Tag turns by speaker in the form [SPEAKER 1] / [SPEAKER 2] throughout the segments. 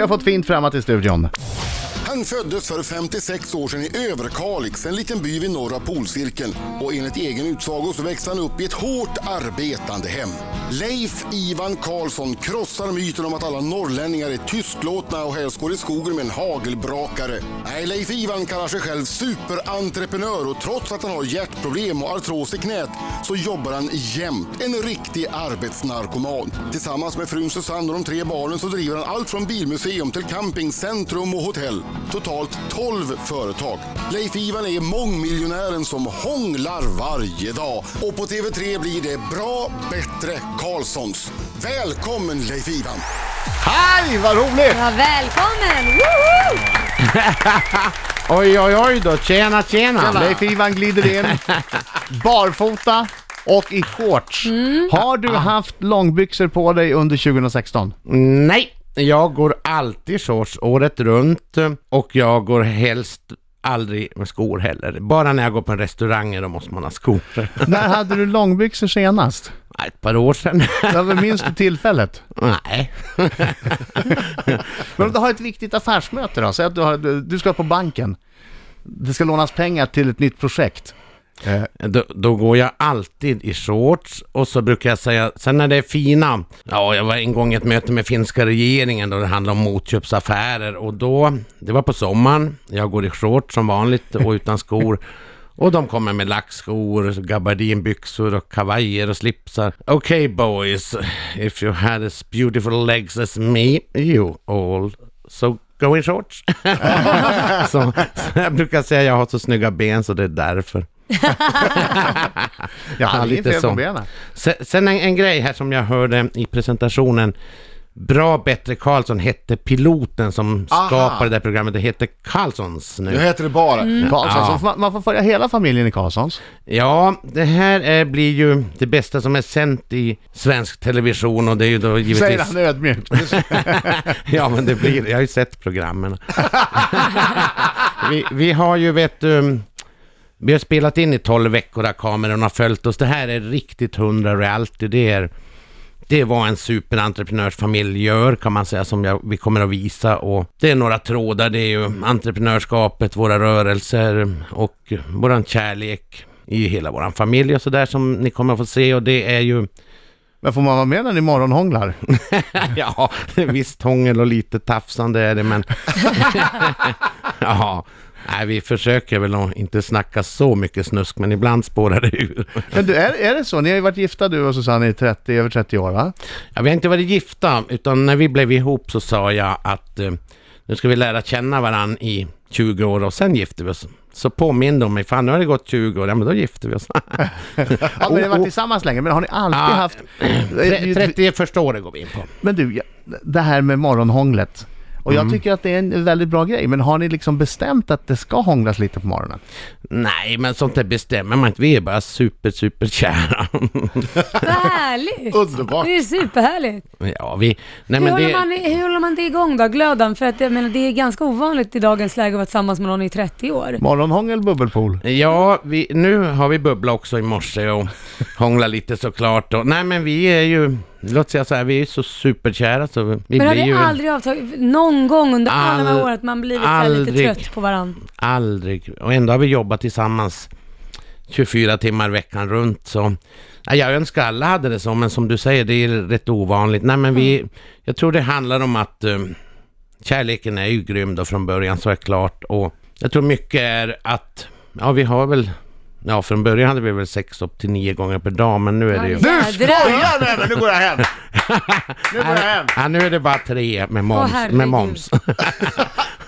[SPEAKER 1] har fått fint framåt i studion.
[SPEAKER 2] Han föddes för 56 år sedan i Överkalix, en liten by vid norra polcirkeln. Och enligt egen utsago så växte han upp i ett hårt arbetande hem. Leif Ivan Karlsson krossar myten om att alla norrlänningar är tystlåtna och helst går i skogen med en hagelbrakare. Nej, Leif Ivan kallar sig själv superentreprenör och trots att han har hjärtproblem och artros i knät så jobbar han jämt. En riktig arbetsnarkoman. Tillsammans med frun Susanne och de tre barnen så driver han allt från bilmuseum till campingcentrum och hotell. Totalt 12 företag. Leif Ivan är mångmiljonären som hånglar varje dag. Och på TV3 blir det Bra Bättre Karlssons. Välkommen Leif Ivan!
[SPEAKER 1] Hej, vad roligt!
[SPEAKER 3] Ja, välkommen! Woho!
[SPEAKER 4] Oj, oj, oj då. Tjena, tjena.
[SPEAKER 1] Leif Ivan glider in, barfota och i shorts. Har du haft långbyxor på dig under 2016?
[SPEAKER 4] Nej, jag går alltid shorts året runt och jag går helst aldrig med skor heller. Bara när jag går på en restaurang då måste man ha skor.
[SPEAKER 1] När hade du långbyxor senast?
[SPEAKER 4] Nej, Ett par år sedan.
[SPEAKER 1] Ja, men Minns du tillfället?
[SPEAKER 4] Nej.
[SPEAKER 1] Men om du har ett viktigt affärsmöte då, säg att du, har, du du ska på banken. Det ska lånas pengar till ett nytt projekt.
[SPEAKER 4] Då, då går jag alltid i shorts och så brukar jag säga, sen när det är fina, ja jag var en gång i ett möte med finska regeringen då det handlade om motköpsaffärer och då, det var på sommaren, jag går i shorts som vanligt och utan skor och de kommer med lackskor, gabardinbyxor och kavajer och slipsar. Okay boys, if you had as beautiful legs as me, you all, so go in shorts. så, så jag brukar säga jag har så snygga ben så det är därför.
[SPEAKER 1] Ja,
[SPEAKER 4] Ja,
[SPEAKER 1] det är
[SPEAKER 4] lite
[SPEAKER 1] fel på
[SPEAKER 4] så.
[SPEAKER 1] benen.
[SPEAKER 4] Se- Sen en, en grej här som jag hörde i presentationen. Bra Bättre Karlsson hette piloten som
[SPEAKER 1] Aha.
[SPEAKER 4] skapade det här programmet. Det heter Karlssons
[SPEAKER 5] Nu
[SPEAKER 4] nu.
[SPEAKER 5] heter det bara.
[SPEAKER 1] Karlsson,
[SPEAKER 4] Ja.
[SPEAKER 1] så får man, man får följa hela familjen i Karlssons.
[SPEAKER 4] Ja, det här eh, blir ju det bästa som är sänt i svensk television och det är ju då givetvis...
[SPEAKER 1] Säger han ödmjukt.
[SPEAKER 4] ja, men det blir det. Jag har ju sett programmen. vi, vi har ju, vet du, vi har spelat in i 12 veckor där kameran har följt oss. Det här är riktigt hundra reality. Det är, det var en superentreprenörsfamilj gör kan man säga som jag, vi kommer att visa och det är några trådar. Det är ju entreprenörskapet, våra rörelser och våran kärlek i hela våran familj och sådär som ni kommer att få se och det är ju
[SPEAKER 1] Men får man vara med när ni morgonhånglar?
[SPEAKER 4] ja, det är visst hångel och lite tafsande är det, men... ja, nej, vi försöker väl att inte snacka så mycket snusk, men ibland spårar det ur.
[SPEAKER 1] Men du, är, är det så? Ni har ju varit gifta du och Susanne i 30, över 30 år va?
[SPEAKER 4] Ja, vi har inte varit gifta, utan när vi blev ihop så sa jag att eh, nu ska vi lära känna varann i 20 år och sen gifter vi oss. Så påminde de mig, fan nu har det gått 20 år, ja men då gifter vi oss.
[SPEAKER 1] Ja, men ni har
[SPEAKER 5] Oh,
[SPEAKER 1] varit
[SPEAKER 4] Och- och-
[SPEAKER 1] tillsammans länge, men har ni alltid
[SPEAKER 4] Ja.
[SPEAKER 1] haft... Eh,
[SPEAKER 4] Tre- 30 första året går vi in på.
[SPEAKER 1] Men du, jag- det här med morgonhånglet. Och
[SPEAKER 5] Mm.
[SPEAKER 1] jag tycker att det är en väldigt bra grej, men har ni liksom bestämt att det ska hånglas lite på morgonen?
[SPEAKER 4] Nej, men sånt där bestämmer man inte, vi är bara super, super kära.
[SPEAKER 3] Vad härligt!
[SPEAKER 5] Underbart.
[SPEAKER 3] Det är superhärligt.
[SPEAKER 4] ja, vi... Nej,
[SPEAKER 3] Hur,
[SPEAKER 4] men
[SPEAKER 3] håller
[SPEAKER 4] det...
[SPEAKER 3] man, hur håller man det igång då, glöden? För att jag menar, det är ganska ovanligt i dagens läge att vara tillsammans med någon i 30 år.
[SPEAKER 1] Morgonhångel, bubbelpool.
[SPEAKER 4] Ja, vi, nu har vi bubbla också i morse och hångla lite såklart. Och, nej men vi är ju, låt säga så här, vi är ju så superkära så vi
[SPEAKER 3] Men har
[SPEAKER 4] blir
[SPEAKER 3] det
[SPEAKER 4] ju
[SPEAKER 3] aldrig avtagit, någon gång under alla de här
[SPEAKER 4] All-
[SPEAKER 3] åren, att man blivit så här lite
[SPEAKER 4] aldrig.
[SPEAKER 3] trött på varandra?
[SPEAKER 4] aldrig, och ändå har vi jobbat tillsammans 24 timmar veckan runt så. Nej, jag önskar alla hade det så, men som du säger, det är rätt ovanligt. Nej men vi,
[SPEAKER 1] Mm.
[SPEAKER 4] jag tror det handlar om att eh, kärleken är ju grym då från början, så är det klart. Och jag tror mycket är att, ja vi har väl, ja från början hade vi väl sex upp till nio gånger per dag, men nu är det ju...
[SPEAKER 3] Du skojar!
[SPEAKER 1] med mig! Nu går jag hem! Nu går jag hem!
[SPEAKER 4] Ja, nu är det bara tre med
[SPEAKER 3] Åh,
[SPEAKER 4] moms.
[SPEAKER 3] herregud.
[SPEAKER 4] med moms.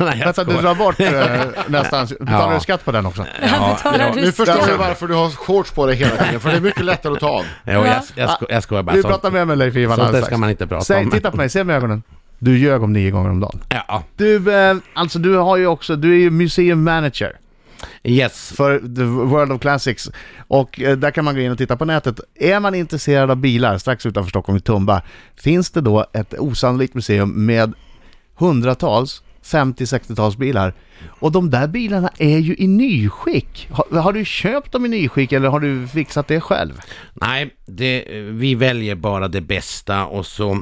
[SPEAKER 4] Nej, jag
[SPEAKER 1] Vänta, du
[SPEAKER 4] skojar.
[SPEAKER 1] drar bort eh, nästan... Betalar du skatt på den också?
[SPEAKER 3] Ja,
[SPEAKER 4] ja,
[SPEAKER 3] betalar du
[SPEAKER 5] Nu förstår
[SPEAKER 3] skatt?
[SPEAKER 5] jag varför du har shorts på dig hela tiden, för det är mycket lättare att ta av.
[SPEAKER 4] Jo, jag, jag, sko, jag skojar bara.
[SPEAKER 1] Du
[SPEAKER 4] Sånt-
[SPEAKER 1] pratar med mig Leif Ivan
[SPEAKER 4] sånt där
[SPEAKER 1] alldeles
[SPEAKER 4] ska
[SPEAKER 1] strax.
[SPEAKER 4] man inte prata
[SPEAKER 1] Säg,
[SPEAKER 4] om.
[SPEAKER 1] titta på mig, se med ögonen. Du ljög om nio gånger om dagen.
[SPEAKER 4] Ja,
[SPEAKER 1] Du, eh, alltså du har ju också, du är ju museum manager
[SPEAKER 4] yes.
[SPEAKER 1] för The World of Classics och eh, där kan man gå in och titta på nätet. Är man intresserad av bilar strax utanför Stockholm i Tumba finns det då ett osannolikt museum med hundratals 50-60-tals bilar och de där bilarna är ju i nyskick. Har, har du köpt dem i nyskick eller har du fixat det själv?
[SPEAKER 4] Nej, det, vi väljer bara det bästa och så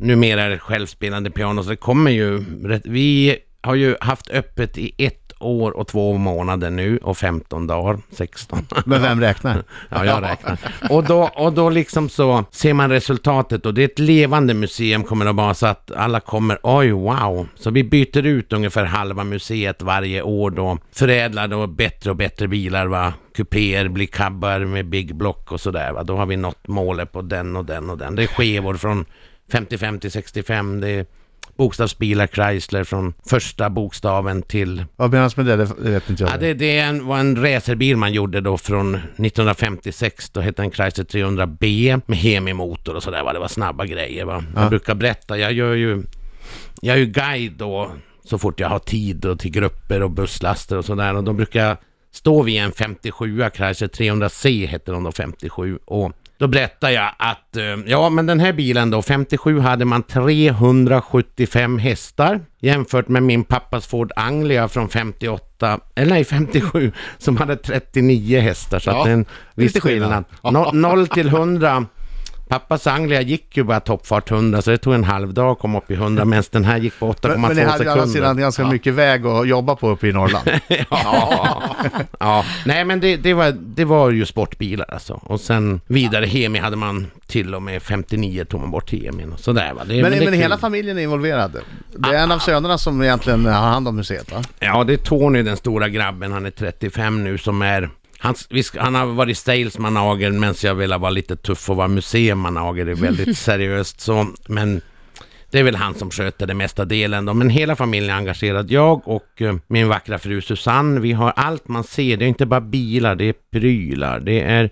[SPEAKER 4] numera är det självspelande piano, så det kommer ju... rätt- Vi har ju haft öppet i ett år och två månader nu och 15 dagar, 16.
[SPEAKER 1] Men vem räknar?
[SPEAKER 4] Ja, jag räknar. Och då, och då liksom så ser man resultatet och det är ett levande museum kommer det att vara så att alla kommer, oj wow. Så vi byter ut ungefär halva museet varje år då. Förädlar då bättre och bättre bilar va. Kupéer blir cabbar med big block och sådär va. Då har vi nått målet på den och den och den. Det är skevor från 55 till 65. Det är bokstavsbilar Chrysler från första bokstaven till
[SPEAKER 1] Vad menas med det? Det det vet inte jag.
[SPEAKER 4] Ja, det, det är en, var en racerbil man gjorde då från 1956. Då hette den Chrysler 300B med hemimotor och sådär. Va? Det var snabba grejer. Va? Jag brukar berätta, jag gör ju... Jag är ju guide då så fort jag har tid och till grupper och busslaster och sådär. Och då brukar jag stå vid en 57a Chrysler 300C hette de då 57. Och då berättar jag att eh, ja men den här bilen då 57 hade man 375 hästar jämfört med min pappas Ford Anglia från 58 eller nej 57 som hade 39 hästar så
[SPEAKER 5] Ja,
[SPEAKER 4] att det är en viss
[SPEAKER 1] lite skillnad.
[SPEAKER 4] skillnad. No- 0 till 100 Pappas Anglia gick ju bara toppfart 100 så det tog en halv dag att komma upp i 100 medan den här gick på 8,2
[SPEAKER 1] men,
[SPEAKER 4] sekunder.
[SPEAKER 1] men ni hade ju å andra sidan ganska mycket väg att jobba på uppe i Norrland.
[SPEAKER 4] ja. ja. Nej men det, det, var, det var ju sportbilar alltså. Och sen vidare Hemi hade man till och med 59 tog man bort Hemin och sådär va. Det,
[SPEAKER 1] Men,
[SPEAKER 4] det
[SPEAKER 1] men,
[SPEAKER 4] är kul. Ah.
[SPEAKER 1] hela familjen är involverad. Det är en av sönerna som egentligen har hand om museet va?
[SPEAKER 4] Ja det är Tony den stora grabben, han är 35 nu som är han, vi ska- han har varit salesmanager men jag vill vara lite tuff och vara museumanager. Det är väldigt seriöst så. Men det är väl han som sköter det mesta delen då. Men hela familjen är engagerad. Jag och eh, min vackra fru Susanne, vi har allt man ser. Det är inte bara bilar, det är prylar, det är
[SPEAKER 1] Du har en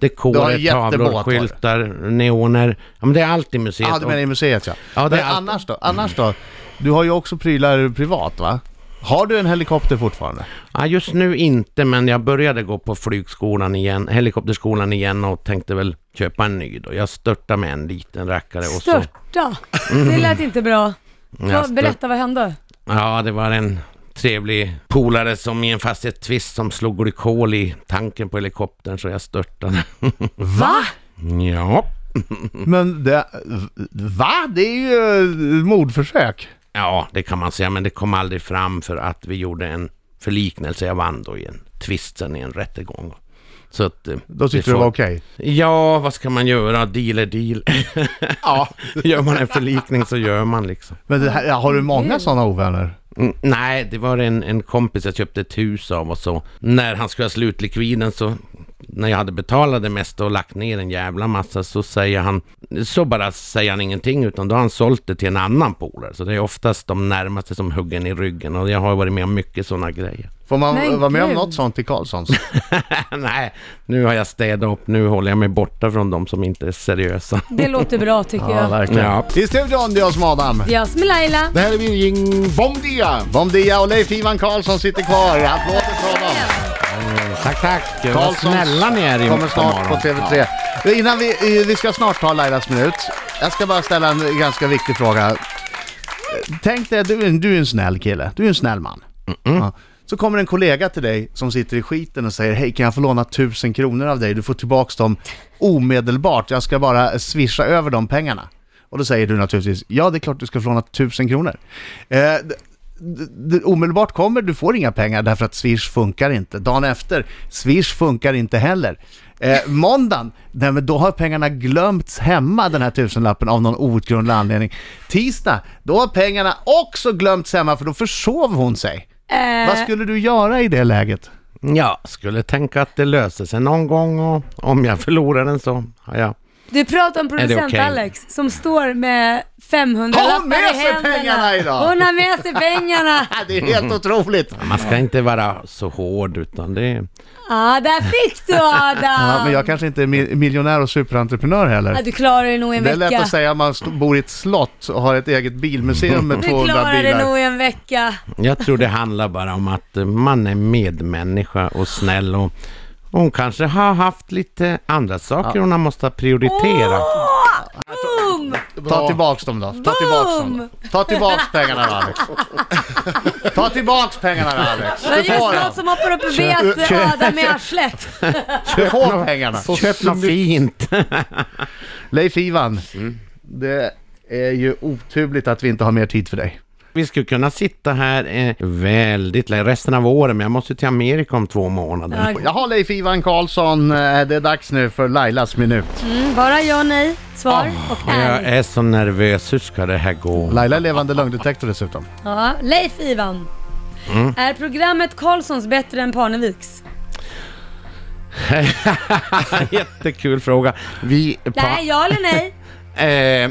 [SPEAKER 4] dekorer,
[SPEAKER 1] jättebåt, har
[SPEAKER 4] tavlor,
[SPEAKER 1] du.
[SPEAKER 4] skyltar, neoner. Ja men det är allt i museet.
[SPEAKER 1] Ja, Ah, du menar i museet ja.
[SPEAKER 4] Ja, det
[SPEAKER 1] men
[SPEAKER 4] är allt-
[SPEAKER 1] annars då? Annars då? Du har ju också prylar privat va? Har du en helikopter fortfarande?
[SPEAKER 4] Ja, just nu inte, men jag började gå på flygskolan igen, helikopterskolan igen och tänkte väl köpa en ny då. Jag störtade med en liten rackare och så...
[SPEAKER 3] Störta! Det lät inte bra.
[SPEAKER 4] jag
[SPEAKER 3] Vad- Berätta, vad hände?
[SPEAKER 4] Ja, det var en trevlig polare som i en fastighetstvist som slog glykol i tanken på helikoptern så jag störtade.
[SPEAKER 3] Va?
[SPEAKER 4] ja. Mm.
[SPEAKER 1] Men det... Va? Det är ju eh, mordförsök.
[SPEAKER 4] ja, det kan man säga, men det kom aldrig fram för att vi gjorde en förliknelse. Jag vann då i en tvist sen i en rättegång. Så att, eh,
[SPEAKER 1] Då tyckte du det
[SPEAKER 4] får-
[SPEAKER 1] var okej?
[SPEAKER 4] Ja, vad ska man göra? Deal är deal. ja. Gör man en förlikning så gör man liksom.
[SPEAKER 1] Men det här, ja, har du många sådana ovänner?
[SPEAKER 4] Mm, nej, det var en, en kompis jag köpte ett hus av och så. När han skulle ha slutlikviden så, när jag hade betalat det mesta och lagt ner en jävla massa så säger han, så bara säger han ingenting utan då har han sålt det till en annan polare. Så det är oftast de närmaste som hugger en i ryggen och jag har varit med om mycket sådana grejer.
[SPEAKER 1] Får man
[SPEAKER 3] Men
[SPEAKER 1] vara med om
[SPEAKER 3] gud.
[SPEAKER 1] något sånt i Karlssons?
[SPEAKER 4] nej, nu har jag städat upp, nu håller jag mig borta från de som inte är seriösa.
[SPEAKER 3] Det låter bra tycker jag.
[SPEAKER 1] verkligen.
[SPEAKER 4] Ja.
[SPEAKER 1] I studion, det är jag som är Adam.
[SPEAKER 3] Jag som är Laila.
[SPEAKER 5] Det här är min Jing Bom Dia!
[SPEAKER 1] Bom Dia och Leif Ivan Karlsson sitter kvar. Applåder för honom.
[SPEAKER 4] Tack, tack. Vad
[SPEAKER 1] Karlssons
[SPEAKER 4] snälla ni är i
[SPEAKER 1] kommer snart
[SPEAKER 4] morgon.
[SPEAKER 1] på TV3. Innan vi, eh, vi ska snart ta Lailas minut. Jag ska bara ställa en ganska viktig fråga. Eh, Tänk dig, att du, är en- du är en snäll kille. Du är en snäll man. Ja. Så kommer en kollega till dig som sitter i skiten och säger Hej, kan jag få låna tusen kronor av dig? Du får tillbaks dem omedelbart. Jag ska bara swisha över de pengarna. Och då säger du naturligtvis Ja, det är klart du ska få låna tusen kronor. Eh, d- d- d- omedelbart kommer, du får inga pengar därför att Swish funkar inte. Dagen efter, Swish funkar inte heller. Eh, måndagen, nej men då har pengarna glömts hemma den här tusenlappen av någon outgrundlig anledning. Tisdag, då har pengarna också glömts hemma för då försov hon sig.
[SPEAKER 3] Eh,
[SPEAKER 1] Vad skulle du göra i det läget?
[SPEAKER 4] Ja, skulle tänka att det löser sig någon gång och om jag förlorar den så har jag...
[SPEAKER 3] Du pratar om
[SPEAKER 4] det
[SPEAKER 3] producent
[SPEAKER 4] okej?
[SPEAKER 3] Alex som står med 500
[SPEAKER 1] Har hon
[SPEAKER 3] lappar i
[SPEAKER 1] med sig
[SPEAKER 3] händerna.
[SPEAKER 1] pengarna idag?
[SPEAKER 3] Hon har med sig pengarna!
[SPEAKER 1] Ah, Det är helt otroligt!
[SPEAKER 4] Man ska inte vara så hård utan det...
[SPEAKER 3] Ja, där fick du
[SPEAKER 1] Ja,
[SPEAKER 3] Adam!
[SPEAKER 1] men jag kanske inte är mi- miljonär och superentreprenör
[SPEAKER 3] Ja,
[SPEAKER 1] heller.
[SPEAKER 3] du klarar dig nog i en
[SPEAKER 1] Det är
[SPEAKER 3] vecka.
[SPEAKER 1] lätt att säga om man st- bor i ett slott och har ett eget bilmuseum med
[SPEAKER 3] du
[SPEAKER 1] 200
[SPEAKER 3] klarar dig
[SPEAKER 1] bilar.
[SPEAKER 3] nog i en vecka.
[SPEAKER 4] Jag tror det handlar bara om att eh, man är medmänniska och snäll och hon kanske har haft lite andra saker hon har måste prioritera.
[SPEAKER 3] Boom!
[SPEAKER 1] Ta tillbaks dem då. Ta tillbaks dem. då. Ta tillbaks pengarna då Alex. Ta tillbaks pengarna då Alex.
[SPEAKER 3] Det
[SPEAKER 1] Du
[SPEAKER 3] är
[SPEAKER 1] får
[SPEAKER 3] just alltså- något
[SPEAKER 1] dem.
[SPEAKER 3] som hoppar upp i bet Adam i arslet.
[SPEAKER 1] Du får pengarna.
[SPEAKER 4] Köp något fint!
[SPEAKER 1] Leif Ivan. Mm. Det är ju oturligt att vi inte har mer tid för dig.
[SPEAKER 4] Vi skulle kunna sitta här eh, väldigt länge, resten av året, men jag måste till Amerika om två månader.
[SPEAKER 3] Ja,
[SPEAKER 1] Jaha Leif Ivan Karlsson, eh, det är dags nu för Lailas minut.
[SPEAKER 3] mm, bara ja, nej, svar och
[SPEAKER 4] Jag
[SPEAKER 3] ärligt.
[SPEAKER 4] är så nervös, hur ska det här gå?
[SPEAKER 1] Laila är levande lögndetektor dessutom.
[SPEAKER 3] Ja, Leif Ivan.
[SPEAKER 1] Mm.
[SPEAKER 3] Är programmet Karlssons bättre än Parneviks?
[SPEAKER 4] Jättekul fråga. Vi... Pa,
[SPEAKER 3] Nej, ja eller nej?
[SPEAKER 4] eh,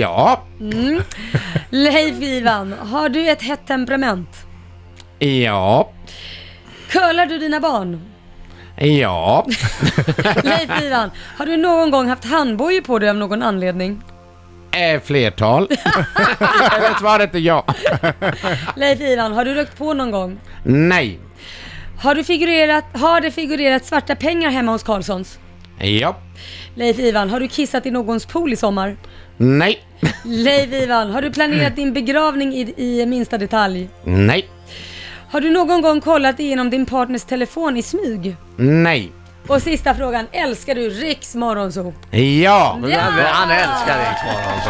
[SPEAKER 4] ja,
[SPEAKER 3] Leif Ivan, har du ett hett temperament?
[SPEAKER 4] ja,
[SPEAKER 3] Curlar du dina barn?
[SPEAKER 4] ja,
[SPEAKER 3] Leif Ivan, har du någon gång haft handbojor på dig av någon anledning?
[SPEAKER 4] eh, flertal. Eller svaret är ja.
[SPEAKER 3] Leif Ivan, har du rökt på någon gång?
[SPEAKER 4] Nej,
[SPEAKER 3] Har, du figurerat, har det figurerat svarta pengar hemma hos Karlssons?
[SPEAKER 4] ja,
[SPEAKER 3] Leif Ivan, har du kissat i någons pool i sommar?
[SPEAKER 4] nej,
[SPEAKER 3] Leif Ivan, har du planerat din begravning i, i minsta detalj?
[SPEAKER 4] nej,
[SPEAKER 3] Har du någon gång kollat igenom din partners telefon i smyg?
[SPEAKER 4] nej,
[SPEAKER 3] Och sista frågan, älskar du Riks Morgonzoo?
[SPEAKER 4] ja.
[SPEAKER 1] Mm. Han älskar Riks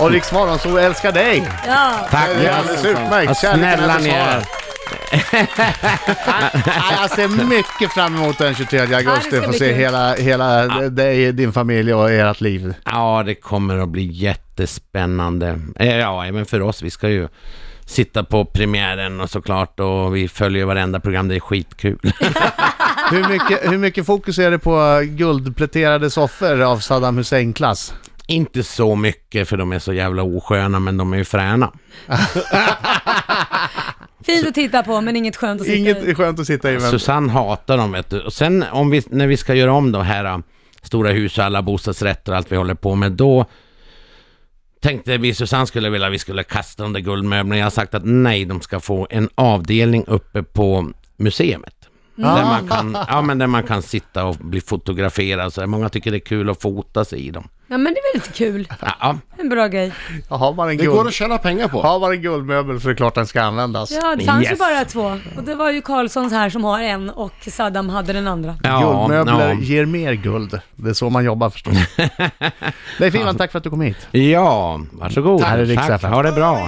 [SPEAKER 1] Och Riks så älskar dig!
[SPEAKER 3] Ja!
[SPEAKER 4] Tack.
[SPEAKER 1] Det är alldeles
[SPEAKER 4] Vad
[SPEAKER 1] utmärkt! Kärleken
[SPEAKER 4] snälla ni
[SPEAKER 1] är
[SPEAKER 4] är.
[SPEAKER 1] Nej, Jag ser mycket fram emot den 23
[SPEAKER 3] Ja,
[SPEAKER 1] augusti
[SPEAKER 3] det
[SPEAKER 1] för
[SPEAKER 3] ska
[SPEAKER 1] att
[SPEAKER 3] bli
[SPEAKER 1] se
[SPEAKER 3] kul.
[SPEAKER 1] hela, hela dig, din familj och ert liv.
[SPEAKER 4] Ja, det kommer att bli jättespännande. Eh, Ja, även för oss. Vi ska ju sitta på premiären och såklart och vi följer varenda program. Det är skitkul.
[SPEAKER 1] Hur mycket, hur mycket fokus är det på guldpläterade soffor av Saddam Hussein-klass?
[SPEAKER 4] Inte så mycket för de är så jävla osköna, men de är ju fräna.
[SPEAKER 3] Fint att titta på men inget skönt att sitta
[SPEAKER 1] Inget
[SPEAKER 3] i.
[SPEAKER 1] är skönt att sitta i men...
[SPEAKER 4] Susanne hatar dem vet du. Och sen om vi, när vi ska göra om de här äh, stora hus och alla bostadsrätter och allt vi håller på med då tänkte vi Susanne skulle vilja att vi skulle kasta de där guldmöblerna. Jag har sagt att nej, de ska få en avdelning uppe på museet.
[SPEAKER 5] Mm.
[SPEAKER 4] Där, man
[SPEAKER 5] Ah.
[SPEAKER 4] kan, ja, men där man kan sitta och bli fotograferad. Så där. många tycker det är kul att fota sig i dem.
[SPEAKER 3] Ja men det är väl lite kul?
[SPEAKER 4] Ja, ja.
[SPEAKER 3] En bra grej.
[SPEAKER 1] Har man en,
[SPEAKER 5] Det går
[SPEAKER 1] guld,
[SPEAKER 5] att tjäna pengar på.
[SPEAKER 1] har man en guldmöbel så är det klart den ska användas.
[SPEAKER 3] Ja, det fanns ju
[SPEAKER 4] Yes.
[SPEAKER 3] bara två. Och det var ju Karlssons här som har en och Saddam hade den andra.
[SPEAKER 1] Guldmöbler
[SPEAKER 4] ja,
[SPEAKER 1] ger mer guld. Det är så man jobbar förstås. Leif Ivan, tack för att du kom hit.
[SPEAKER 4] ja, varsågod.
[SPEAKER 1] Tack.
[SPEAKER 4] Tack. Ha det bra.